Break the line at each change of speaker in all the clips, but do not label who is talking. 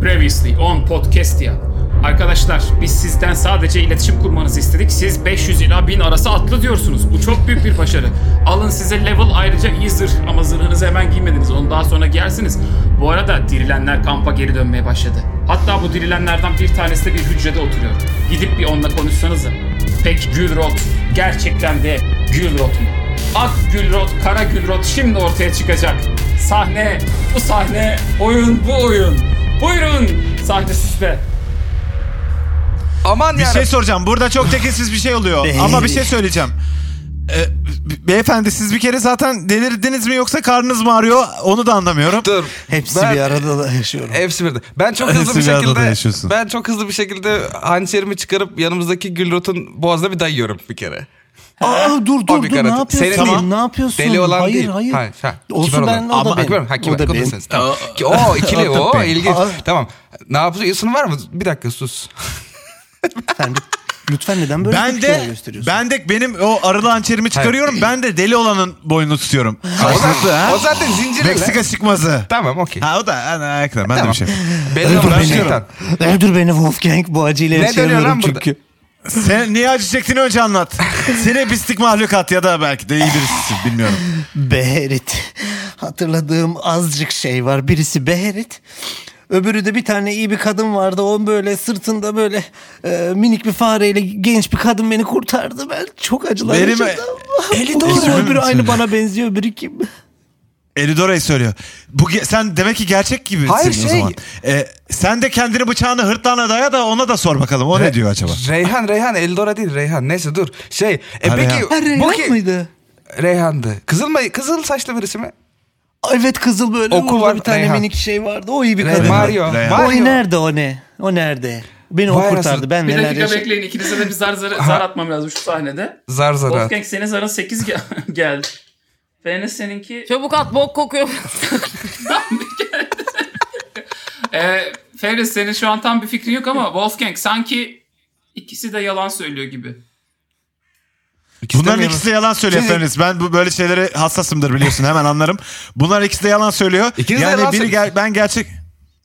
Previously on Podcast'ya. Arkadaşlar biz sizden sadece iletişim kurmanızı istedik. Siz 500 ila 1000 arası atlı diyorsunuz. Bu çok büyük bir başarı. Alın size level ayrıca iyi zırh ama zırhınızı hemen giymediniz. Onu daha sonra giyersiniz. Bu arada dirilenler kampa geri dönmeye başladı. Hatta bu dirilenlerden bir tanesi de bir hücrede oturuyor. Gidip bir onunla konuşsanız Pek Gülrot gerçekten de Gülrot mu? Ak Gülrot, Kara Gülrot şimdi ortaya çıkacak. Sahne, bu sahne, oyun bu oyun. Buyurun sahne sizde.
Aman
Bir
yarabbim.
şey soracağım. Burada çok tekinsiz bir şey oluyor. Ama bir şey söyleyeceğim. Ee, be- beyefendi siz bir kere zaten delirdiniz mi yoksa karnınız mı ağrıyor? Onu da anlamıyorum.
Dur.
Hepsi
Ben-
bir arada da yaşıyorum.
Hepsi birde. Ben çok
Hepsi
hızlı bir
bir arada da
şekilde
yaşıyorsun.
ben çok hızlı bir şekilde hançerimi çıkarıp yanımızdaki Gülrot'un boğazına bir dayıyorum bir kere.
Aa dur dur
Abi
dur ne
karat-
yapıyorsun?
Senin değil.
Ne yapıyorsun?
Deli olan
hayır,
değil.
Hayır
Ha, ha. Kibar
Olsun
olan.
ben o
Ama
da benim.
kibar, ha, kibar,
o da benim.
konuşsanız, Tamam. Ki- Oo ikili o ilginç.
Aa.
Tamam. Ne yapıyorsun var mı? Bir dakika sus.
Sen bir- lütfen neden böyle
Ben
tepkiler
de
gösteriyorsun?
ben de benim o arılı hançerimi çıkarıyorum. Ben de deli olanın boynunu tutuyorum.
O zaten,
Karşılıklı ha.
o zaten zincirle.
Meksika çıkmazı.
Tamam okey.
Ha o da ha, ha, ekran. Ben
Tamam.
de bir şey.
Belli
Öldür
olan
beni.
şeytan.
Öldür beni Wolfgang bu acıyla
Ne dönüyor lan
yaşayamıyorum
burada?
çünkü.
Sen niye acı çektiğini önce anlat. Seni bistik mahlukat ya da belki de iyi birisisin bilmiyorum.
Beherit. Hatırladığım azıcık şey var. Birisi Beherit. Öbürü de bir tane iyi bir kadın vardı. O böyle sırtında böyle e, minik bir fareyle genç bir kadın beni kurtardı. Ben çok acılar
Benim-
yaşadım. e- Eli
doğru.
Öbürü aynı bana benziyor. Öbürü kim?
Elidora'yı söylüyor. Bu ge- sen demek ki gerçek gibisin
Hayır,
o
şey-
zaman. Ee, sen de kendini bıçağını hırtlağına daya da ona da sor bakalım. O ne diyor acaba?
Reyhan Reyhan Eldora değil Reyhan. Neyse dur. Şey. E
Ha,
peki
Reyhan.
Ha, Reyhan
bu ki
mıydı?
Reyhan'dı. Kızıl mı? Kızıl saçlı birisi mi?
Evet kızıl böyle
Okul
orada
var,
bir tane
Reyhan.
minik şey vardı. O iyi bir
Reyhan.
kadın.
Mario.
Reyhan.
O
Mario.
nerede o ne? O nerede? Beni o
Vay
kurtardı.
anasını.
Ben
Bir
neler
dakika
yaşadım.
bekleyin ikinize de bir zar zar, zar atmam lazım şu sahnede.
Zar zar. at.
Wolfgang senin zarın 8 gel geldi. Fairness seninki...
Çabuk at bok kokuyor.
Ee, Fairness senin şu an tam bir fikrin yok ama Wolfgang sanki ikisi de yalan söylüyor gibi.
İkisi de
Bunların
mi
ikisi de yalan söylüyor
Siz-
Fenerist. Ben bu böyle şeylere hassasımdır biliyorsun hemen anlarım. Bunlar ikisi de yalan söylüyor.
İkiniz de
yani
yalan
biri
söylüyor.
ger- ben gerçek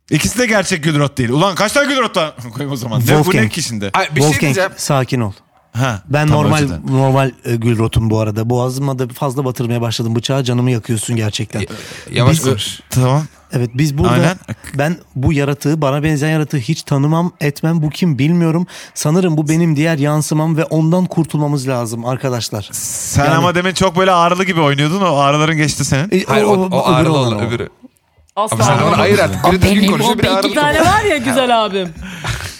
İkisi de gerçek Gülrot değil. Ulan kaç tane Gülrot lan? koyayım o zaman. Ne, bu
Wolfgang.
ne ki şimdi?
Ay, bir şey
Wolfgang
diyeceğim.
sakin ol.
Ha,
Ben
tam
normal
önceden.
normal e, gül rotum bu arada. Boğazıma da fazla batırmaya başladım bıçağı. Canımı yakıyorsun gerçekten.
Yavaş
Biz-
konuş.
Tamam.
Evet biz burada
Aynen.
ben bu yaratığı bana benzeyen yaratığı hiç tanımam etmem bu kim bilmiyorum. Sanırım bu benim diğer yansımam ve ondan kurtulmamız lazım arkadaşlar.
Sen ama demin çok böyle ağrılı gibi oynuyordun. O ağrıların geçti senin.
E,
Hayır o, o,
öbürü
ağrılı
olan
olan
o.
öbürü.
Asla.
Abi sen
ağrı
onu ayır
olmaz.
artık. Biri düzgün konuşuyor biri
O
ağrılı
iki tane
konuşuyor.
var ya güzel abim.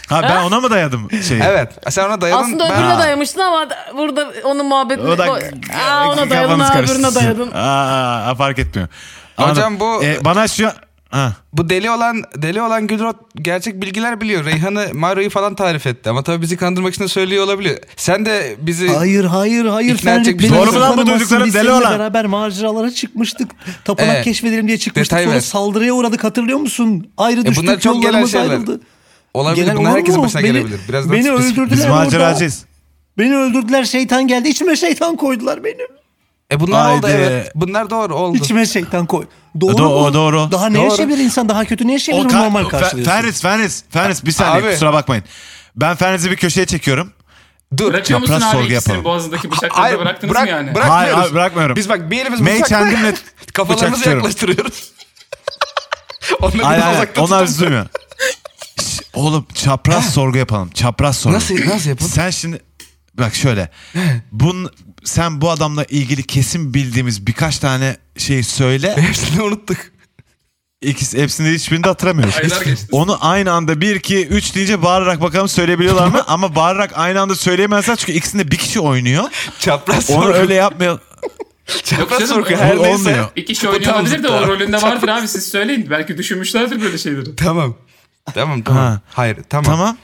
Ha ben ona mı dayadım şeyi?
Evet. Sen ona dayadın.
Aslında
ben-
öbürüne dayamıştın ama burada onun muhabbetini...
O da
Aa, ona dayadın,
kafanız
ha,
karıştı.
öbürüne dayadın.
Aa, aa, fark etmiyor.
Hocam
Anladım.
bu-
Ee, bana şu ha.
Bu deli olan deli olan Gülrot gerçek bilgiler biliyor. Reyhan'ı Mario'yu falan tarif etti. Ama tabii bizi kandırmak için söylüyor olabilir. Sen de bizi...
Hayır hayır hayır.
İkna
Sen
edecek bir
beni
şey
Doğru mu lan bu
tanımazsın.
duyduklarım?
Biz
Deli
seninle
olan.
beraber maceralara çıkmıştık. Tapınak
Evet.
keşfedelim diye çıkmıştık.
Detay
sonra
ver. E,
saldırıya uğradık hatırlıyor musun? Ayrı düştük
bunlar çok gelen
yollarımız
şeyler.
ayrıldı.
Olabilir.
Gelen
Bunlar
olur
herkesin
mu?
başına
Beni-
gelebilir. Birazdan
beni
spesifik-
öldürdüler
Biz
orada.
maceracıyız.
Beni öldürdüler şeytan geldi. İçime şeytan koydular benim.
E bunlar oldu
Haydi.
evet. Bunlar doğru oldu.
İçime şeytan koy. Doğru
Do-
mu?
o doğru.
Daha ne
E, Doğru.
yaşayabilir insan? Daha kötü ne yaşayabilir?
ka-
normal
Fe-
karşılıyorsun.
Ferris, Ferris, Ferris bir saniye
Abi.
kusura bakmayın. Ben Ferris'i bir köşeye çekiyorum.
Dur.
Bırakıyor musun
Yaprak
abi
sorgu
ikisini
yapalım.
boğazındaki bıçakları
Hayır,
da bıraktınız
bırak-
mı yani?
Bırakmıyoruz.
Hayır, hayır, bırakmıyorum.
Biz bak bir elimiz
Mey
bıçakta
kendimle bıçak
kafalarımızı
tutuyorum.
yaklaştırıyoruz. Onları
Hayır,
biraz
hayır,
uzakta
onlar
tutalım.
bizi duymuyor. Şş, Oğlum çapraz sorgu yapalım. Çapraz sorgu.
Nasıl- nasıl yapalım?
Sen şimdi bak şöyle. Bun, sen bu adamla ilgili kesin bildiğimiz birkaç tane şey söyle.
Hepsini unuttuk.
İkisi, hepsini hiçbirini de hatırlamıyoruz.
Aylar geçti.
Onu aynı anda 1, 2, 3 deyince bağırarak bakalım söyleyebiliyorlar mı? Ama bağırarak aynı anda söyleyemezler çünkü ikisinde bir kişi oynuyor.
Çapraz
Onu
sorgu.
öyle yapmayalım.
Çapraz
Yok canım,
sorgu
bu
her neyse.
olmuyor.
Bir kişi oynuyor
Tamam,
olabilir de o
tamam.
rolünde vardır abi siz söyleyin. Belki düşünmüşlerdir böyle şeyleri.
Tamam. Tamam tamam.
Ha.
Hayır tamam.
Tamam.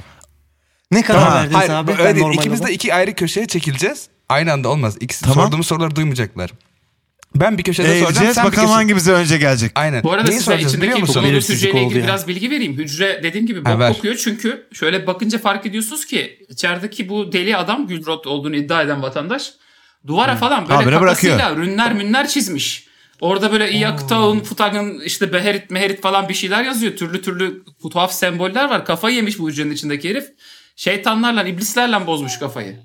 Ne karar
Tamam.
verdiniz
Hayır
abi?
öyle
Ben
değil.
normal
İkimiz de
olamam.
iki ayrı köşeye çekileceğiz. Aynı anda olmaz. İkisi
Tamam.
sorduğumuz soruları duymayacaklar. Ben bir köşede soracağım
Eğileceğiz
sen bir
bakalım
köşe...
hangimize önce gelecek.
Aynen.
Bu arada
Neyi
size
soracağız biliyor
içindeki
musun?
bulunduğunuz
Belirsizlik
hücreyle
oldu
ilgili
ya.
biraz bilgi vereyim. Hücre dediğim gibi
Ha,
bok
ver.
kokuyor çünkü şöyle bakınca fark ediyorsunuz ki içerideki bu deli adam Gülrot olduğunu iddia eden vatandaş duvara falan böyle
Habire
kafasıyla
bırakıyor.
rünler münler çizmiş. Orada böyle Iyaktağ'ın, Futag'ın işte Beherit, Meherit falan bir şeyler yazıyor. Türlü türlü tuhaf semboller var. Kafayı yemiş bu hücrenin içindeki herif. Şeytanlarla, iblislerle bozmuş kafayı.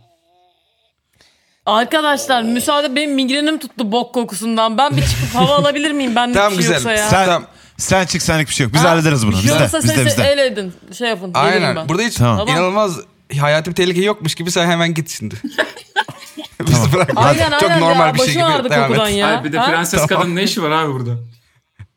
Arkadaşlar müsaade benim migrenim tuttu bok kokusundan. Ben bir çıkıp hava alabilir miyim? Ben
Tamam,
bir
güzel.
şey yoksa ya.
Sen,
Tamam.
sen çık senlik bir şey yok. Biz
Ha?
hallederiz bunu. Bizde
Yoksa
bizde
sesi
bizde.
el edin. Şey yapın. gelirim
Aynen.
ben.
Burada hiç
Tamam.
inanılmaz hayati bir tehlike yokmuş gibi sen hemen git şimdi. Bizi bırak.
Aynen
Çok
aynen
normal
ya.
bir şey
Başım
gibi
ağrıdı
devam
kokudan
et.
ya.
Ay bir de
Ha?
prenses kadın ne işi var abi burada?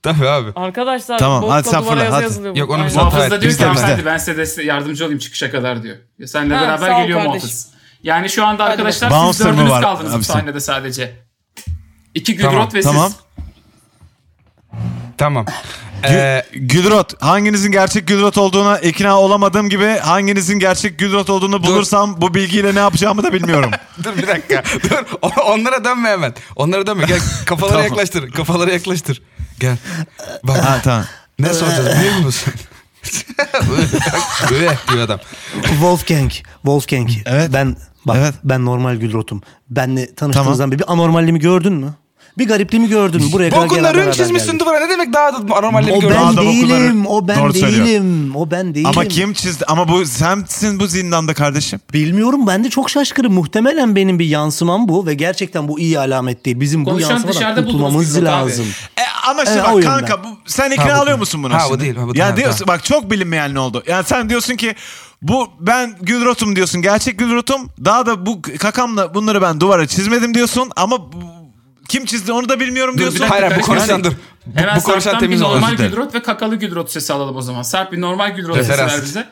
Tabii abi.
Arkadaşlar
Tamam,
bok
hadi
kodu
sen
var
fırla,
yazı
hadi.
yazılıyor.
Yok, onu
Aynen.
bize-
Muhafız da
Evet,
diyor ki
bizde, bizde.
hanımefendi ben size deste- yardımcı olayım çıkışa kadar diyor. Ya Senle
Ha, sağ
beraber
ol
geliyor
kardeşim.
muhafız. Yani şu anda arkadaşlar
bakalım.
siz
Bouncer mı
dördünüz
var
kaldınız bu
abisi?
sahnede sadece. İki Gülrot
Tamam,
ve
Tamam.
siz.
Tamam.
Gü-
Ee,
Gülrot. Hanginizin gerçek Gülrot olduğuna ikna olamadığım gibi hanginizin gerçek Gülrot olduğunu bulursam bu bilgiyle ne yapacağımı da bilmiyorum.
dur bir dakika. dur. O- Onlara dönme hemen. Onlara dönme. Gel kafalara
Tamam.
yaklaştır. Kafalara yaklaştır. Gel. Bak.
ha tamam.
Ne soracağız biliyor musun? Böyle diyor adam.
Wolfgang, Wolfgang.
Evet.
Ben bak
Evet.
ben normal Gülrot'um. Benle tanıştığınızdan beri bir anormalliğimi gördün mü? Bir garipliğimi gördün mü? Buraya kadar gel
Bokunla rün
beraber
çizmişsin
geldik.
duvara. Ne demek daha da anormalleri
O
görüyorum.
ben
Adam okulları-
değilim. O ben
Doğru söylüyor.
değilim. O ben değilim.
Ama kim çizdi? Ama bu sensin bu zindanda kardeşim.
Bilmiyorum ben de çok şaşkınım. Muhtemelen benim bir yansımam bu ve gerçekten bu iyi alamet değil. Bizim bu
Konuşan
yansımadan
dışarıda buldunuz
kurtulmamız
Gülrot abi.
lazım.
E, ama şimdi
E, o
bak
yönden.
kanka bu, sen ikna
Ha, bu
alıyor
değil.
musun bunu
Ha, bu
şimdi?
değil, ha, bu
ya
değil,
diyorsun
ha.
bak çok bilinmeyen ne oldu? Yani sen diyorsun ki bu ben Gülrot'um diyorsun. Gerçek Gülrot'um. Daha da bu kakamla bunları ben duvara çizmedim diyorsun ama bu- kim çizdi onu da bilmiyorum
Dur,
diyorsun.
bir dakika, Hayır, bu konuşan
Yani-
dur. Bu,
Hemen
bu konuşan
Sarp'tan
temiz
bir
olmaz.
normal
Özür dilerim.
Gülrot ve kakalı Gülrot sesi alalım o zaman. Sarp bir normal Gülrot
Evet,
sesi ver
Serhat.
bize.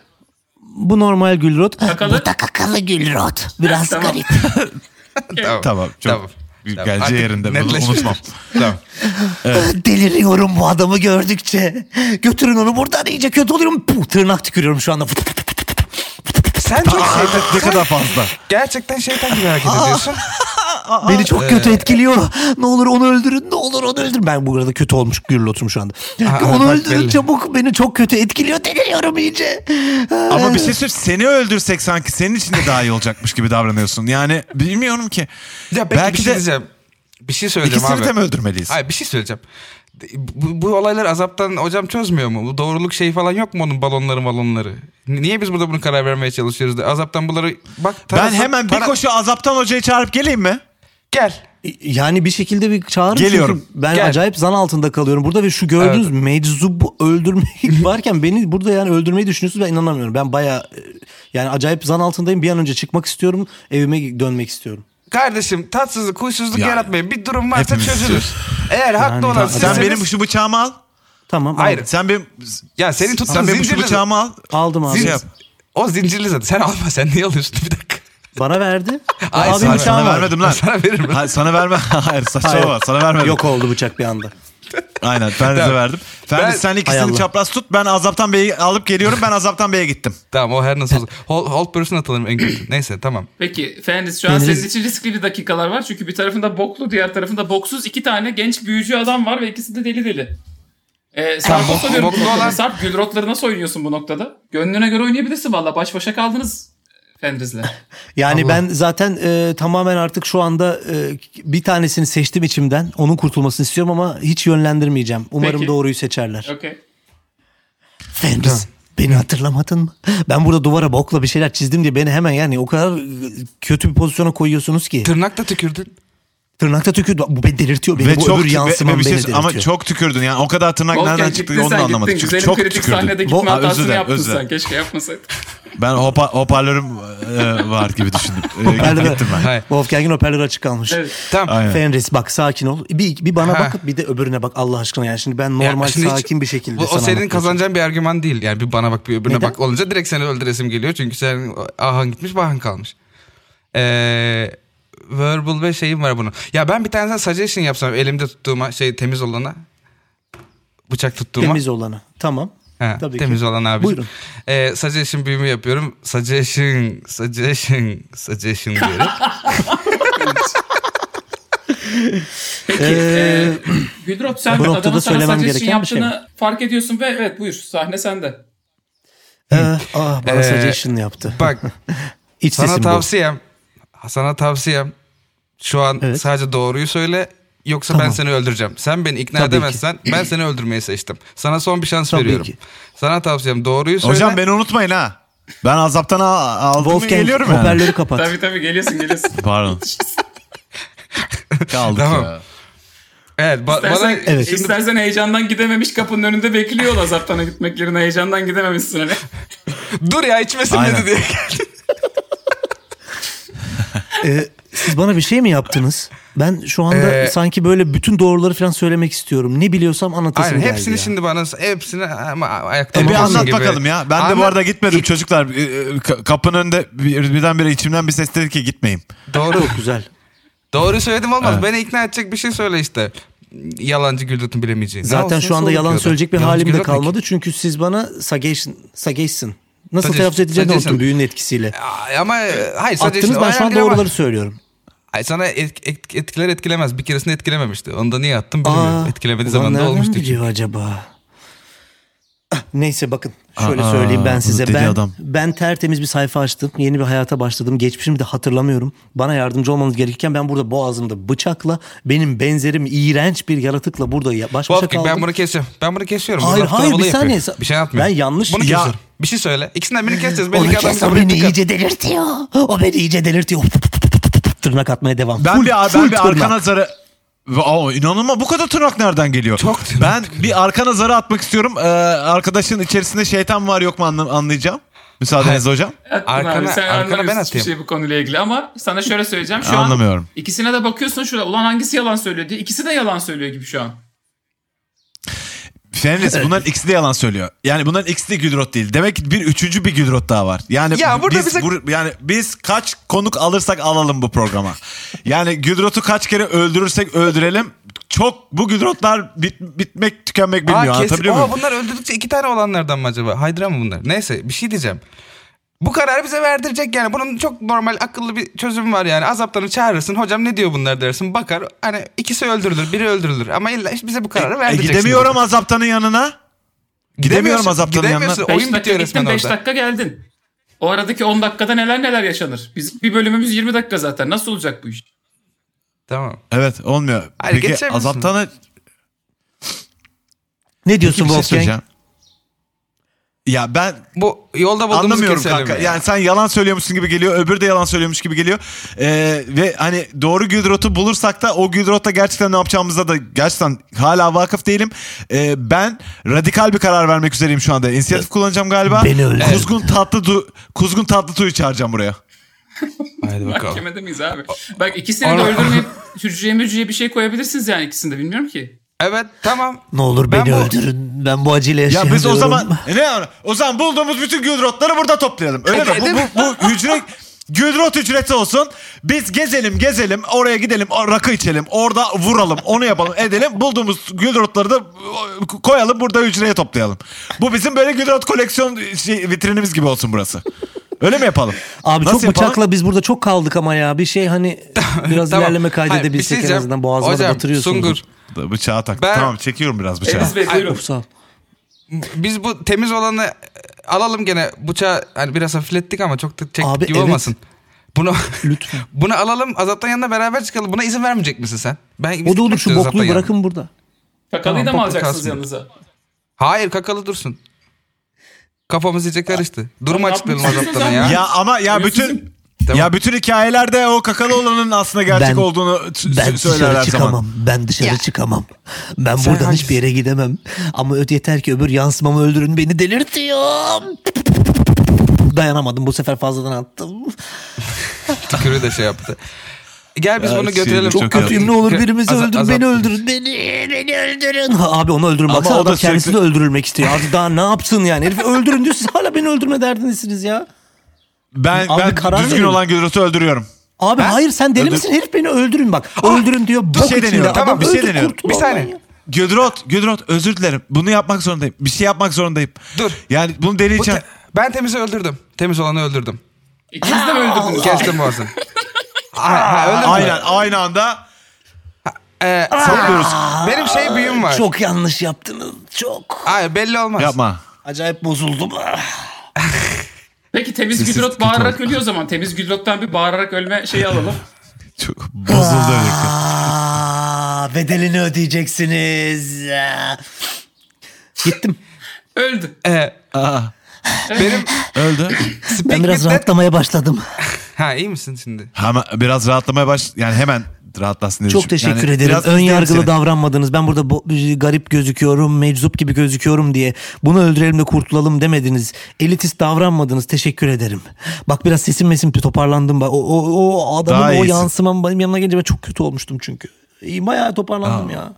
Bu normal Gülrot.
Kakalı.
Kakalı Gülrot. Biraz
Tamam.
garip.
Tamam, çok geleceği
Artık
yerinde, bunu
netleşmiş.
unutmam.
tamam.
Deliriyorum bu adamı gördükçe. Götürün onu buradan iyice kötü oluyorum. Puh, tırnak tükürüyorum şu anda.
Sen çok şeytan,
Ne kadar fazla.
gerçekten şeytan gibi hareket ediyorsun.
Beni çok kötü etkiliyor. Ne olur onu öldürün. Ne olur onu öldürün. Ben bu arada kötü olmuş Gürlot'um şu anda.
Aa,
onu
bak
öldürün
belli.
çabuk. Beni çok kötü etkiliyor. Deliriyorum iyice.
Ama bir şey söyleyeyim seni öldürsek sanki senin için de daha iyi olacakmış gibi davranıyorsun. Yani bilmiyorum ki.
Ya belki, bir şey diyeceğim. Bir şey söyleyeceğim
ikisini
abi.
de mi öldürmeliyiz?
Hayır bir şey söyleyeceğim. Bu, bu olayları azaptan hocam çözmüyor mu? Bu doğruluk şeyi falan yok mu onun balonları balonları? Niye biz burada bunu karar vermeye çalışıyoruz? da? Azaptan bunları bak.
ben
tarafı-
hemen bir
para-
koşu azaptan hocayı çağırıp geleyim mi?
Gel.
Ee, Yani bir şekilde bir çağırın
Geliyorum.
çünkü ben
Gel.
acayip zan altında kalıyorum burada ve şu gördüğünüz meczubu öldürmek varken beni burada yani öldürmeyi düşünüyorsunuz ben inanamıyorum. Ben baya yani acayip zan altındayım bir an önce çıkmak istiyorum evime dönmek istiyorum.
Kardeşim tatsızlık, huysuzluk
Yani.
yaratmayın. Bir durum varsa
Hepimiz
çözülür.
istiyoruz.
Eğer haklı olan
Sen
sizseniz-
benim şu bıçağımı al.
Tamam
Hayır.
aldım.
Sen benim
Ya senin tuttuğun
sen benim şu
zincirli-
bıçağımı al. şey
aldım abi.
Zin-
yap.
O zincirli zaten. Sen alma. Sen niye alıyorsun? Bir dakika.
Bana verdi.
Ay,
abi
sana-
bıçağım
Sana
var.
vermedim lan.
Sana veririm.
Hayır, sana verme. Hayır
Hayır.
saçmalama. sana vermedim.
Yok oldu bıçak bir anda.
Aynen ben de
Tamam.
verdim. Ferdi
Ben-
sen
Hay
ikisini
Allah.
çapraz tut. Ben azaptan beyi alıp geliyorum. Ben azaptan beye gittim.
Tamam o her nasıl olsa. Hold, hold person atalım en kötü. Neyse tamam.
Peki Fenris şu an
Fenris-
senin için riskli bir dakikalar var. Çünkü bir tarafında boklu diğer tarafında boksuz iki tane genç büyücü adam var ve ikisi de deli deli. Ee, Sarp'a
bok-
soruyorum.
boklu
bu noktada.
olan-
Sarp Gülrotları nasıl oynuyorsun bu noktada? Gönlüne göre oynayabilirsin valla. Baş başa kaldınız e, Fenris'le.
Yani ben zaten e, tamamen artık şu anda e, bir tanesini seçtim içimden. Onun kurtulmasını istiyorum ama hiç yönlendirmeyeceğim. Umarım
Peki.
doğruyu seçerler.
Okey.
Fenris beni hatırlamadın mı? Ben burada duvara bokla bir şeyler çizdim diye beni hemen yani o kadar e, kötü bir pozisyona koyuyorsunuz ki.
Tırnakla tükürdün.
Tırnakta tükür bu beni delirtiyor beni.
Ve
bu
çok
öbür
ve-
yansımam
ve bir şey-
beni delirtiyor.
ama çok tükürdün yani o kadar tırnak
Volkan
nereden
gittin
çıktı onu da
sen
anlamadık.
gittin.
Çünkü
Güzelim
çok
kritik sahnede
tükürdün.
gitme
Aa, özür
hatasını
dilerim,
yaptın
özür
sen.
dilerim.
Keşke yapmasaydın.
Ben hopa, hoparlörüm e, var gibi düşündüm. E,
Hoparlörü-
gittim ben.
Hayır.
Wolfgang'in hoparlörü açık kalmış.
Evet.
Tamam.
Aynen.
Fenris bak sakin ol. Bir, bir
Ha.
bana bakıp bir de öbürüne bak Allah aşkına. Yani şimdi ben
Ya
normal
şimdi hiç-
sakin bir şekilde
Bu, o
sana
senin
anlatıyorum.
kazanacağın bir argüman değil. Yani bir bana bak bir öbürüne
Neden?
bak olunca direkt seni öldüresim geliyor. Çünkü sen ahan gitmiş bahan kalmış. Ee, verbal ve şeyim var bunun. Ya ben bir tane sana suggestion yapsam elimde tuttuğuma şey temiz olana bıçak tuttuğuma.
Temiz olanı. Tamam.
Ha,
Tabii ki.
temiz olan abi.
Buyurun.
Ee, suggestion büyümü yapıyorum. Suggestion, suggestion, suggestion diyorum.
Peki.
Ee,
e, Gülrot sen
bu
de
noktada
adamın sana
söylemem
suggestion
gereken bir şey
yaptığını fark ediyorsun ve evet buyur sahne sende.
Ee, ah, bana
Ee,
suggestion yaptı.
Bak
İç
sana
sesim bu.
tavsiyem, sana tavsiyem şu an
Evet.
sadece doğruyu söyle. yoksa ben
Tamam.
seni öldüreceğim. Sen beni ikna
Tabii ki.
edemezsen ben seni öldürmeyi seçtim. Sana son bir şans
Tabii
veriyorum.
ki.
Sana tavsiyem doğruyu söyle.
Hocam beni unutmayın ha. Ben azaptan al- aldım mı
Wolfgang
geliyorum yani.
hoparlörü kapat.
Tabii tabii geliyorsun geliyorsun.
Pardon. Kaldık
Tamam.
ya.
Evet, ba- bana
İstersen,
Evet.
istersen heyecandan gidememiş kapının önünde bekliyor ol azaptana gitmek yerine heyecandan gidememişsin hani.
dur ya içmesin
Aynen.
dedi diye.
Ee, siz bana bir şey mi yaptınız? Ben şu anda
Ee,
sanki böyle bütün doğruları falan söylemek istiyorum. Ne biliyorsam anlatasım
Aynen
geldi
hepsini
ya.
şimdi bana hepsini ama ayakta
E bir
olmasın
anlat
gibi.
bakalım ya. Ben de bu
Anlat.
arada gitmedim çocuklar. E, e, ka- Kapının önünde bir- birdenbire içimden bir ses dedi ki gitmeyin.
Doğru.
Çok güzel.
Doğru söyledim olmaz. Beni ikna edecek bir şey söyle işte. Yalancı Güldürt'ün bilemeyeceği. Ne
Zaten
olsun,
şu anda
soğuk
yalan
diyordu.
söyleyecek bir
Yalancı
halim de
Güldürt ne ki?
kalmadı. Çünkü siz bana sageşsin. Sageşsin. Nasıl
Suggestion,
telaffuz edeceğini
suggestion.
unuttum büyünün etkisiyle.
Ay, Ama e, hayır sadece
Attınız
işte
ben şu an
ayar diyor ama-
doğruları söylüyorum.
Ay, sana et- et- etkiler etkilemez. Bir keresinde etkilememişti. Onu da niye attım bilmiyorum.
Aa,
Etkilemediği
ulan
zaman da
nereden
olmuştu. çünkü.
biliyor acaba? Ah, Neyse bakın şöyle
Aa,
söyleyeyim ben
bunu
size.
dedi
Ben,
adam.
ben tertemiz bir sayfa açtım. Yeni bir hayata başladım. Geçmişimi de hatırlamıyorum. Bana yardımcı olmanız gerekirken ben burada boğazımda bıçakla benim benzerim iğrenç bir yaratıkla burada ya- baş başa
Wolfgang
kaldım.
ben bunu kesiyorum. Ben bunu kesiyorum.
Hayır,
Bunu
hayır, bir
yapıyor.
saniye.
Bir şey yapmıyor.
Ben yanlış-
Bunu
Ya-
kesiyorum. Bir şey söyle. İkisinden birini keseceğiz.
Onu
Belki adam
kes, o
kabul
beni
edecek.
iyice delirtiyor. O beni iyice delirtiyor. Tırnak atmaya devam.
Ben
Full-
bir, ben
full
bir arka
tırnak.
nazarı... Aa, inanılmaz bu kadar tırnak nereden geliyor?
Çok tırnak.
Ben bir arka nazarı atmak istiyorum. Ee, arkadaşın içerisinde şeytan var yok mu anla- anlayacağım. Müsaadenizle hocam.
Attın
Arkana-
abi, sen
arkana
anlamıyorsun
ben
hiçbir
atayım.
şey bu konuyla ilgili ama sana şöyle söyleyeceğim. Şu
Anlamıyorum.
an ikisine de bakıyorsun şurada ulan hangisi yalan söylüyor diye. İkisi de yalan söylüyor gibi şu an.
Fenris bunların ikisi de yalan söylüyor. Yani bunların ikisi de Gülrot değil. Demek ki bir üçüncü bir Gülrot daha var. Yani
Ya burada
biz
bize-
bur- yani biz kaç konuk alırsak alalım bu programa. yani Gülrot'u kaç kere öldürürsek öldürelim. Çok bu Gülrotlar bit- bitmek tükenmek
Aa,
bilmiyor.
kes-
Anlatabiliyor
Aa,
muyum?
bunlar öldürdükçe iki tane olanlardan mı acaba? Haydra mı bunlar? Neyse bir şey diyeceğim. Bu kararı bize verdirecek yani. Bunun çok normal akıllı bir çözümü var yani. Azaptanı çağırırsın. Hocam ne diyor bunlar dersin. Bakar hani ikisi öldürülür biri öldürülür. Ama illa işte bize bu kararı
E,
verdirecek.
gidemiyorum azaptanın yanına. Gidemiyorum azaptanın yanına.
Gidemiyorsun.
5
Oyun
dakika
bitiyor resmen
gittin 5
orada.
dakika geldin. O aradaki 10 dakikada neler neler yaşanır. Biz bir bölümümüz 20 dakika zaten. Nasıl olacak bu iş?
Tamam.
Evet olmuyor.
Hayır,
Peki
geçemiyorsun.
azaptanı
Ne diyorsun
bir şey
Wolfgang?
söyleyeceğim. Ya ben
Bu yolda bulduğumuz
anlamıyorum
keseleme
kanka.
ya.
Yani sen yalan söylüyormuşsun gibi geliyor. Öbürü de yalan söylüyormuş gibi geliyor. Ee, ve hani doğru Güldrot'u bulursak da o Güldrot'ta gerçekten ne yapacağımızda da gerçekten hala vakıf değilim. Ee, ben radikal bir karar vermek üzereyim şu anda. İnisiyatif kullanacağım galiba.
Beni öldür.
Kuzgun tatlı du- Kuzgun tatlı tuyu çağıracağım buraya.
Haydi bakalım.
Mahkemede miyiz abi? Bak ikisini de
Ana-
öldürmeyip hücreye mücreye bir şey koyabilirsiniz yani ikisini de bilmiyorum ki.
Evet tamam.
Ne olur
Ben
beni
bu-
öldürün. Ben bu acıyla
Ya
yaşayamıyorum.
biz o zaman E, ne ara- o zaman bulduğumuz bütün güldrotları burada toplayalım. Öyle mi?
Evet,
Bu,
değil mi?
bu, bu hücre güldrot hücreti olsun. Biz gezelim gezelim oraya gidelim o- rakı içelim orada vuralım onu yapalım edelim. Bulduğumuz güldrotları da e, koyalım burada hücreye toplayalım. Bu bizim böyle güldrot koleksiyon şey, vitrinimiz gibi olsun burası. Öyle mi yapalım?
Abi
Nasıl
çok
yapalım?
bıçakla biz burada çok kaldık ama ya. Bir şey hani biraz
Tamam.
ilerleme
Hayır, bir şey
kaydedebilsek en
diyeceğim.
azından boğazıma da
Hocam,
batırıyorsunuz.
Sungur,
Bıçağı tak.
Ben-
Tamam çekiyorum biraz bıçağı.
Enes Bey
Ay,
buyurun.
Of, sağ ol.
biz bu temiz olanı e, alalım gene bıçağı hani biraz hafiflettik ama çok da çektik
Abi,
gibi
evet.
olmasın. Bunu
Lütfen.
bunu alalım azaptan yanına beraber çıkalım. Buna izin vermeyecek misin sen? Ben biz
O da
gitmek
olur şu
istiyoruz Azaptan
bokluyu
yanına.
bırakın burada.
Kakalıyı da
Tamam,
mı
bakın
alacaksınız
kalsın.
yanınıza?
Hayır kakalı dursun. Kafamız iyice karıştı. Durumu
Tamam,
açıklayalım
yapmışsınız
azaptan
sen
ya.
Ya ama ya bütün
Ölümsüzüm.
Tamam.
ya bütün hikayelerde o kakalı olanın aslında gerçek
Ben-
olduğunu s-
Ben
s- söylerler
dışarı
zaman.
çıkamam. Ben dışarı çıkamam. Ben
Sen
buradan
hangisi-
hiçbir yere gidemem. Ama öte yeter ki öbür yansımamı öldürün beni delirtiyor. Dayanamadım bu sefer fazladan attım.
Tükürü de şey yaptı. Gel biz
Ya,
bunu
şey,
götürelim.
çok
Çok kötüyüm ne olur birimizi
Azap-
öldürün
azap-
beni öldürün beni beni öldürün. Ha, Abi onu öldürün
Ama
baksana
o da
adam kendisi
sürekli-
de öldürülmek istiyor. Abi daha ne yapsın yani herif öldürün diyor siz hala beni öldürme derdindesiniz ya.
Ben,
Abi
ben
karar
düzgün
verin.
olan Gülrot'u öldürüyorum.
Abi hayır sen deli misin herif beni öldürün bak. öldürün diyor bok
şey
içinde
deniyorum.
adam
Tamam, bir şey
öldür,
deniyorum.
kurtul
Bir
Allah'ın
saniye.
ya.
Gülrot, Gülrot özür dilerim. Bunu yapmak zorundayım. Bir şey yapmak zorundayım.
Dur.
Yani bunu
Bu te-
deneyeceğim.
ben temizi öldürdüm. Temiz olanı öldürdüm.
İkiniz de mi öldürdünüz?
Kestim boğazını. Ha, ha, öldürdüm.
Aynen aynı anda
Ee,
saplıyoruz.
benim şey büyüm var.
Çok yanlış yaptınız çok.
Hayır belli olmaz.
Yapma.
Acayip bozuldum. Ah.
Peki temiz
Sessiz,
Güdrot
kötü
bağırarak
oldu.
ölüyor o zaman. Temiz Güdrot'tan bir bağırarak ölme şeyi alalım.
Çok bozuldu öyle.
Aa, Aa, Ah, bedelini ödeyeceksiniz. Aa. Gittim.
Öldü.
Ee,
Aa,
benim
öldü.
Ben biraz
Spiknik'te-
rahatlamaya başladım.
Ha iyi misin şimdi?
Hemen, biraz rahatlamaya baş... Yani hemen rahatlasın diye
Çok
düşün-
teşekkür
yani
ederim.
biraz
Ön
izleyelim
yargılı
seni.
davranmadınız. Ben burada bo- garip gözüküyorum, meczup gibi gözüküyorum diye bunu öldürelim de kurtulalım demediniz. Elitist davranmadınız. Teşekkür ederim. Bak biraz sesim mesim toparlandım. Bak. O, o, o adamın
Daha
o
iyisin.
yansımam benim yanına gelince ben çok kötü olmuştum çünkü. İyi bayağı toparlandım ya.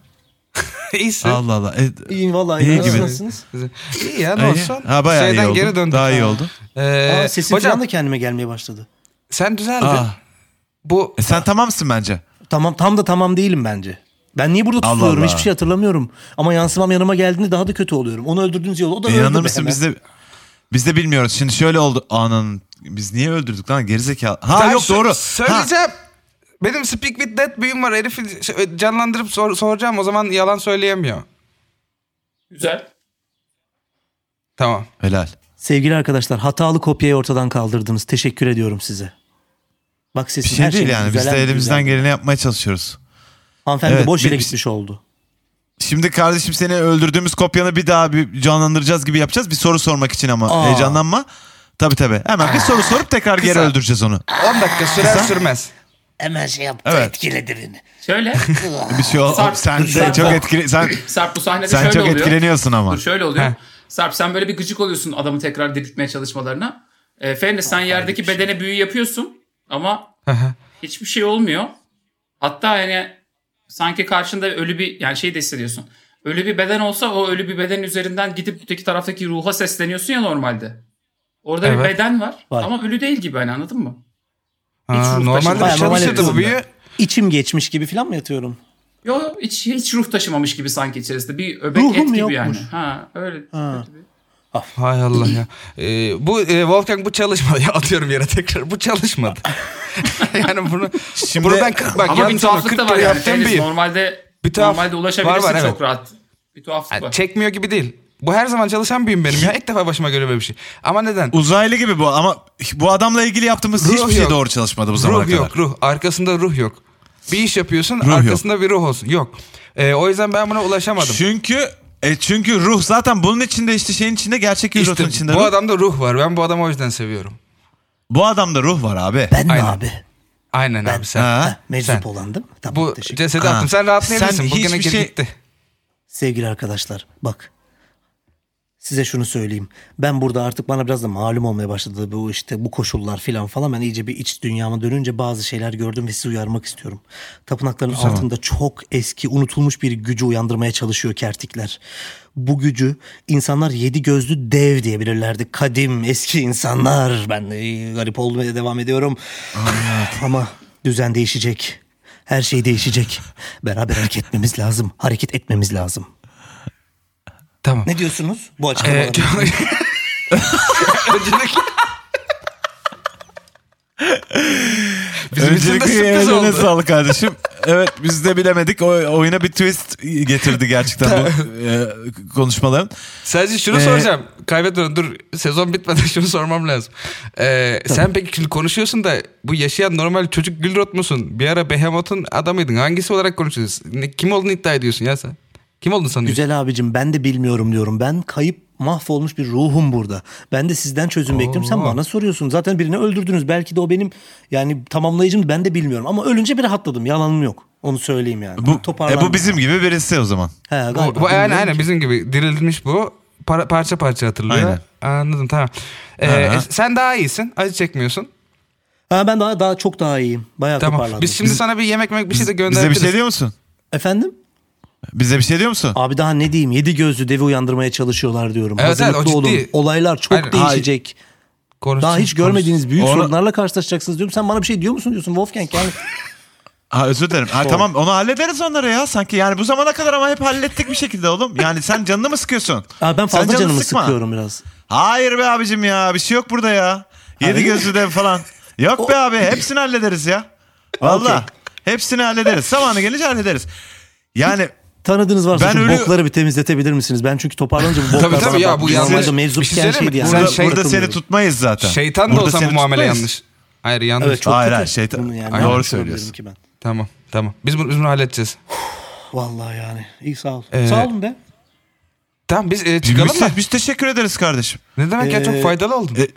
İyisin.
Allah Allah. E,
İyiyim vallahi.
İyi
İyi
gibi.
Nasılsınız?
Güzel. İyi ya ne
İyi.
olsun.
Ha, bayağı iyi
Şeyden
oldu.
geri döndük.
Daha iyi oldu.
Ee,
Aa, sesim
hocam
falan da kendime gelmeye başladı.
sen düzeldin.
Aa,
Bu
e sen tamamsın bence.
Tamam tam da tamam değilim bence. Ben niye burada
Allah
tutuluyorum
Allah.
hiçbir şey hatırlamıyorum. Ama yansımam yanıma geldiğinde daha da kötü oluyorum. Onu öldürdüğünüz yolu o da öldü.
İnanır
be
E, mısın
hemen.
biz de biz de bilmiyoruz. Şimdi şöyle oldu. Ananın biz niye öldürdük lan gerizekalı. Ha
Ben
yok
sö-
doğru. Ha,
Söyleyeceğim. Benim Speak With Dead büyüm var. Herifi şey- canlandırıp sor- soracağım. O zaman yalan söyleyemiyor.
Güzel.
Tamam.
helal.
Sevgili arkadaşlar hatalı kopyayı ortadan kaldırdınız. Teşekkür ediyorum size. Bak
Bir
sesin
şey
her
değil
şeyin
yani. Biz
düzelen-
de elimizden
düzeldi.
geleni yapmaya çalışıyoruz.
Hanımefendi
Evet,
boş yere
biz-
gitmiş oldu.
Şimdi kardeşim seni öldürdüğümüz kopyanı bir daha bir canlandıracağız gibi yapacağız. Bir soru sormak için ama
Aa.
heyecanlanma. Tabii tabii. Hemen bir soru sorup tekrar geri
Kısa.
öldüreceğiz onu.
10 dakika sürer sürmez.
Hemen şey yaptı
Evet.
etkiledi beni.
Şöyle.
Bir şey ol.
Sarp.
Sen, sen
Sarp.
çok etkili sen
Sarp bu sahnede
sen
şöyle
çok
oluyor.
etkileniyorsun ama.
Dur şöyle oluyor.
Heh.
Sarp sen böyle bir gıcık oluyorsun adamı tekrar diriltmeye çalışmalarına. E, Fernes sen yerdeki bedene büyü yapıyorsun ama hiçbir şey olmuyor. Hatta yani sanki karşında ölü bir yani şey de hissediyorsun. Ölü bir beden olsa o ölü bir beden üzerinden gidip öteki taraftaki ruha sesleniyorsun ya normalde. Orada bir
Evet.
beden var,
Var.
ama ölü değil gibi hani anladın mı?
Ha,
ruh
normalde
taşımadı.
bir çalışırdı bu
Normal
büyü.
İçim geçmiş gibi falan mı yatıyorum?
Yo yo, hiç, hiç ruh taşımamış gibi sanki içerisinde. Bir öbek
Ruhum
et gibi
yokmuş.
yani. Ha öyle. öyle bir-
Hay Allah ya. Ee, bu e, Wolfgang bu çalışmadı. Ya atıyorum yere tekrar. Bu çalışmadı. yani bunu
Şimdi-
buradan kırk bak
Ama bir
yalnız ama
tuhaflık
40
da var yani.
lira
Şey,
yaptım
Deniz,
büyü.
normalde
Bir tuhaf-
normalde ulaşabilirsin
var var,
çok
evet.
rahat. Bir tuhaflık
Yani
var.
çekmiyor gibi değil. Bu her zaman çalışan büyüm benim ya. İlk defa başıma göre böyle bir şey. Ama neden?
Uzaylı gibi bu ama bu adamla ilgili yaptığımız
Ruh
hiçbir şey
yok.
doğru çalışmadı bu zamana
Ruh
kadar.
yok ruh. Arkasında ruh yok. Bir iş yapıyorsun
yok.
arkasında bir ruh olsun. Yok. Ee, o yüzden ben buna ulaşamadım.
Çünkü e çünkü ruh zaten bunun içinde işte şeyin içinde gerçek
İşte
Hürriyet'in içinde.
bu
ruh.
adamda ruh var. Ben bu adamı o yüzden seviyorum.
bu adamda ruh var abi.
Ben mi
Aynen.
abi?
Aynen abi sen.
Ha?
Ha, meczup
sen.
olan değil mi? Tamam
Bu
teşekkür
cesedi
Ha.
attım. Sen
Sen
rahatlayabilirsin. Bugüne
hiçbir
gir
şey-
gitti.
Sevgili arkadaşlar bak size şunu söyleyeyim. Ben burada artık bana biraz da malum olmaya başladı bu işte bu koşullar filan falan. Ben iyice bir iç dünyama dönünce bazı şeyler gördüm ve sizi uyarmak istiyorum. Tapınakların altında çok eski unutulmuş bir gücü uyandırmaya çalışıyor kertikler. Bu gücü insanlar yedi gözlü dev diyebilirlerdi. Kadim eski insanlar. Ben de garip olmaya devam ediyorum. Ama düzen değişecek. Her şey değişecek. Beraber hareket etmemiz lazım. Hareket etmemiz lazım.
Tamam.
Ne diyorsunuz bu açıklamalara?
Ee, Öncelikle... Bizim için de
Öncelikle
sürpriz
eline
oldu.
sağlık kardeşim. evet biz de bilemedik. O, oyuna bir twist getirdi gerçekten bu e, konuşmaların.
Sadece şunu
Ee,
soracağım. Kaybetme dur. Sezon bitmeden şunu sormam lazım. Ee, sen peki şimdi konuşuyorsun da bu yaşayan normal çocuk Gülrot musun? Bir ara Behemoth'un adamıydın. Hangisi olarak konuşuyorsun? Ne- Kim olduğunu iddia ediyorsun ya sen? Kim olduğunu sanıyorsun?
Güzel abicim ben de bilmiyorum diyorum. Ben kayıp mahvolmuş bir ruhum burada. Ben de sizden çözüm bekliyorum. Sen bana soruyorsun. Zaten birini öldürdünüz. Belki de o benim yani tamamlayıcım ben de bilmiyorum. Ama ölünce bir rahatladım. Yalanım yok. Onu söyleyeyim yani.
Bu, e,
Toparlandım.
bu bizim gibi birisi o zaman.
He,
Bu,
galiba.
bu aynen,
Bilmiyorum
aynen
ki.
bizim gibi dirilmiş bu. Para- parça parça hatırlıyor. Anladım tamam. Ee,
Aha.
sen daha iyisin. Acı çekmiyorsun.
Ha, ben daha daha çok daha iyiyim. Bayağı
Tamam.
toparlandım.
Biz şimdi sana bir yemek yemek bir şey de
Bize bir
gönderebiliriz.
şey diyor musun?
Efendim?
Bize bir şey diyor musun?
Abi daha ne diyeyim? Yedi gözlü devi uyandırmaya çalışıyorlar diyorum.
Evet, evet, o
Hazırlıklı olun.
ciddi.
Olaylar çok
Aynen.
değişecek.
Konuşsun,
Daha hiç
konuşsun.
görmediğiniz büyük
Ona-
sorunlarla karşılaşacaksınız diyorum. Sen bana bir şey diyor musun diyorsun Wolfgang yani.
Ha özür dilerim. Ha, tamam onu hallederiz onları ya sanki. Yani bu zamana kadar ama hep hallettik bir şekilde oğlum. Yani sen canını mı sıkıyorsun?
Aa, ben
Sen
fazla
canını
canımı
sıkma.
sıkıyorum biraz.
Hayır be abicim ya bir şey yok burada ya. Yedi gözlü dev falan. Yok be abi hepsini hallederiz ya. Valla hepsini hallederiz. Zamanı gelince hallederiz. Yani
Tanıdığınız varsa
Ben
şu
ölü-
bokları bir temizletebilir misiniz? Ben çünkü toparlanınca bu boklar
Tabii, tabii
bana
ya,
bak-
bu
biz
yanlış.
normalde
Bir
mevzup
şey söyleyeyim mi?
gençlik yani.
burada,
Sen şey-
burada seni tutmayız zaten.
Şeytan da
Burada
olsan
seni
bu muamele
tutmayız.
yanlış. Hayır şey- yanlış.
Evet çok
Hayır,
kötü.
hayır, şeytan-
Bunu
Doğru
ne yapmış olabilirim
söylüyorsun.
Ki ben.
Tamam tamam. Biz bunu, biz bunu halledeceğiz.
Vallahi yani. İyi sağ ol.
Ee,
sağ olun de.
Tamam biz e, çıkalım
Biz,
mı?
biz teşekkür ederiz kardeşim.
Ne demek ya
Ee,
çok faydalı oldun.
e,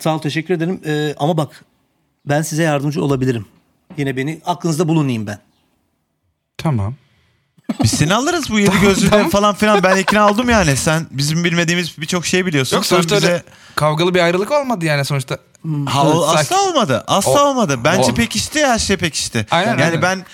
Sağ ol teşekkür ederim. Ee, ama bak ben size yardımcı olabilirim. Yine beni aklınızda bulunayım ben.
Tamam.
Biz seni alırız bu yedi gözlüden falan filan. Ben ikna oldum yani. Sen bizim bilmediğimiz birçok şey biliyorsun.
Yok
Sen
sonuçta
bize-
öyle kavgalı bir ayrılık olmadı yani sonuçta.
Hmm.
Ha, o
Evet,
asla
sakin.
olmadı. Asla
O-
olmadı. Bence
Olmadı.
pekişti her şey pekişti.
Aynen,
yani
aynen.
ben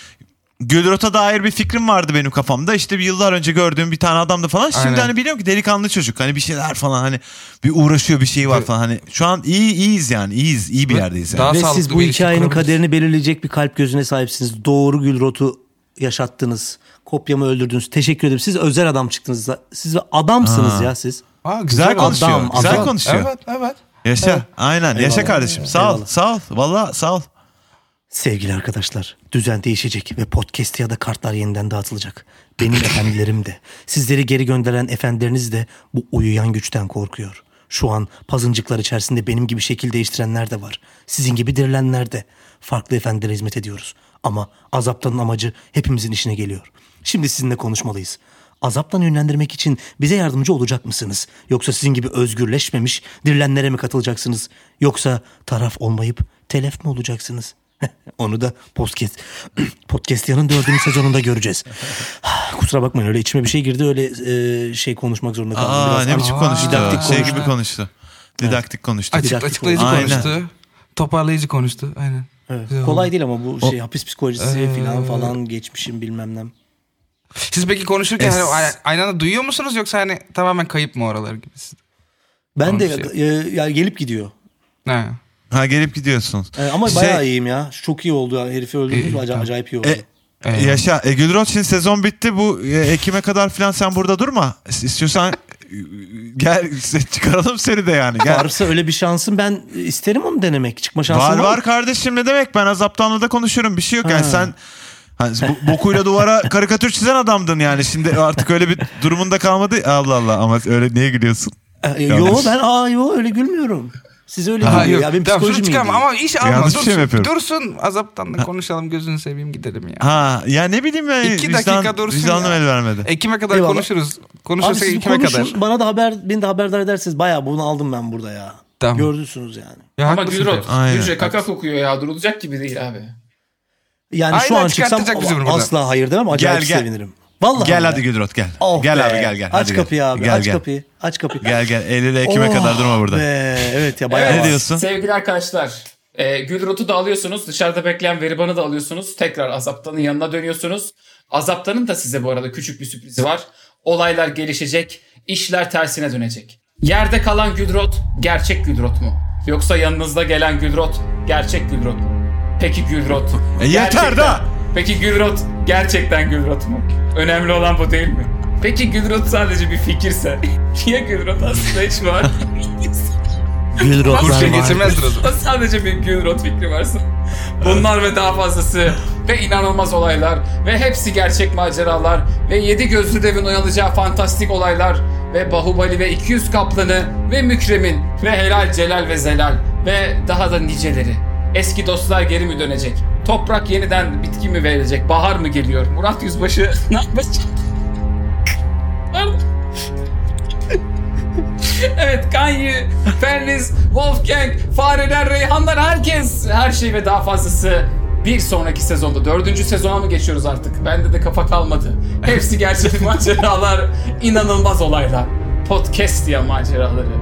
Gülrot'a dair bir fikrim vardı benim kafamda. İşte bir yıllar önce gördüğüm bir tane adamdı falan. Şimdi
Aynen.
hani biliyorum ki delikanlı çocuk. Hani bir şeyler falan hani bir uğraşıyor bir şey var falan. Hani şu an iyi iyiyiz yani. İyiyiz. iyi bir yerdeyiz yani.
Daha
Ve
sağlıklı
siz
bir
bu
ilişki
hikayenin
kurabiliriz.
kaderini belirleyecek bir kalp gözüne sahipsiniz. Doğru Gülrot'u yaşattınız. Kopyamı öldürdünüz. Teşekkür ederim. Siz özel adam çıktınız. Siz adamsınız ya siz.
Aa,
Güzel
oldu.
konuşuyor.
adam,
güzel
adam.
konuşuyor.
Evet evet.
Yaşa. Aynen. Yaşa
Eyvallah.
kardeşim. Sağ ol.
Eyvallah.
Sağ ol. Valla sağ ol.
Sevgili arkadaşlar, düzen değişecek ve podcast ya da kartlar yeniden dağıtılacak. Benim efendilerim de, sizleri geri gönderen efendileriniz de bu uyuyan güçten korkuyor. Şu an pazıncıklar içerisinde benim gibi şekil değiştirenler de var. Sizin gibi dirilenler de. Farklı efendilere hizmet ediyoruz. Ama azaptanın amacı hepimizin işine geliyor. Şimdi sizinle konuşmalıyız. Azaptan yönlendirmek için bize yardımcı olacak mısınız? Yoksa sizin gibi özgürleşmemiş dirilenlere mi katılacaksınız? Yoksa taraf olmayıp telef mi olacaksınız? Onu da podcast podcast'yanın dördüncü sezonunda göreceğiz. Kusura bakmayın öyle içime bir şey girdi öyle e, şey konuşmak zorunda kaldım.
Aa
Biraz
ne biçim konuştu.
Didaktik
şey
konuştu.
gibi konuştu. Didaktik konuştu.
Açık,
dakika
açıklayıcı
konuştu.
konuştu. Toparlayıcı konuştu. Aynen.
Evet.
Güzel oldu.
Kolay değil ama bu şey hapis psikolojisi
Ee,
falan falan geçmişim bilmem ne.
Siz peki konuşurken
Es-
hani ay- aynı anda duyuyor musunuz yoksa hani tamamen kayıp mı oralar gibi? siz?
Ben de
Tamam,
şey-
e, ya gelip gidiyor.
Ha.
Ha gelip gidiyorsunuz.
E, ama
Şey-
bayağı iyiyim ya. Çok iyi oldu yani herifi öldürdünüz mü? Acayip, acayip iyi oldu.
E,
Ee.
Eyvallah.
Yaşa. E, Gülrot şimdi sezon bitti. Bu e, Ekim'e kadar falan sen burada durma. İs- İstiyorsan e, gel çıkaralım seni de yani. Gel.
Varsa öyle bir şansım ben isterim onu denemek. Çıkma şansım
Var
mı?
var kardeşim ne demek ben azaptanla da konuşurum bir şey yok yani sen hani bu- bokuyla duvara karikatür çizen adamdın yani şimdi artık öyle bir durumunda kalmadı Allah Allah ama öyle niye gülüyorsun?
E, yo ben aa yo öyle gülmüyorum. Siz öyle
Aha,
gülüyor.
yok.
Ya benim
tamam şunu
psikolojim iyi
çıkarma
değil.
ama iş alma.
Yanlış bir
Dursun,
şey mi yapıyorum?
dursun azaptan da konuşalım gözünü seveyim gidelim ya.
Ha ya ne bileyim ben
İki dakika dursun
vicdanım
ya.
el vermedi.
Ekim'e kadar
Eyvallah.
konuşuruz.
Abi
Konuşursak
siz
Ekim'e
konuşun
kadar.
bana da haber beni de haberdar edersiniz. Bayağı bunu aldım ben burada ya.
Tamam.
Gördünüz yani.
Ya
Ama
haklısın
Gülrot,
tabii.
Aynen.
Gülce kaka kokuyor ya. Durulacak gibi değil abi.
Yani şu
Aynen,
an çıksam
çıkartacak bizi buradan.
asla hayır demem acayip
Gel, gel.
sevinirim. Vallahi
Gel
ya.
hadi Gülrot gel.
Oh
gel
be.
abi gel gel.
Aç
Hadi gel.
kapıyı abi.
Gel,
aç
gel.
kapıyı. Aç kapıyı.
Gel gel Eylül Ekim'e
Oh
kadar durma burada.
be, Evet ya bayağı.
Ne
var.
diyorsun?
Sevgili arkadaşlar. E, Gülrot'u da alıyorsunuz. Dışarıda bekleyen Veriban'ı da alıyorsunuz. Tekrar Azaptan'ın yanına dönüyorsunuz. Azaptan'ın da size bu arada küçük bir sürprizi var. Olaylar gelişecek. işler tersine dönecek. Yerde kalan Gülrot gerçek Gülrot mu? Yoksa yanınızda gelen Gülrot gerçek Gülrot mu? Peki Gülrot.
E, yeter
gerçekten-
da!
Peki Gülrot gerçekten Gülrot mu? Önemli olan bu değil mi? Peki Gülrot sadece bir fikirse? Niye Gülrot aslında hiç var?
Gülrotlar
Kurşun
var.
geçirmezdir o zaman.
Sadece bir Gülrot fikri varsa. Bunlar ve daha fazlası ve inanılmaz olaylar ve hepsi gerçek maceralar ve yedi gözlü devin oyalacağı fantastik olaylar ve Bahubali ve 200 kaplanı ve Mükremin ve Helal Celal ve Zelal ve daha da niceleri. Eski dostlar geri mi dönecek? Toprak yeniden bitki mi verilecek? Bahar mı geliyor? Murat Yüzbaşı ne yapacak? Pardon. Evet Kanye, Ferniz, Wolfgang, Fareler, Reyhanlar herkes her şey ve daha fazlası bir sonraki sezonda. Dördüncü sezona mı geçiyoruz artık? Bende de kafa kalmadı. Hepsi gerçek maceralar, inanılmaz olaylar. Podcast ya maceraları.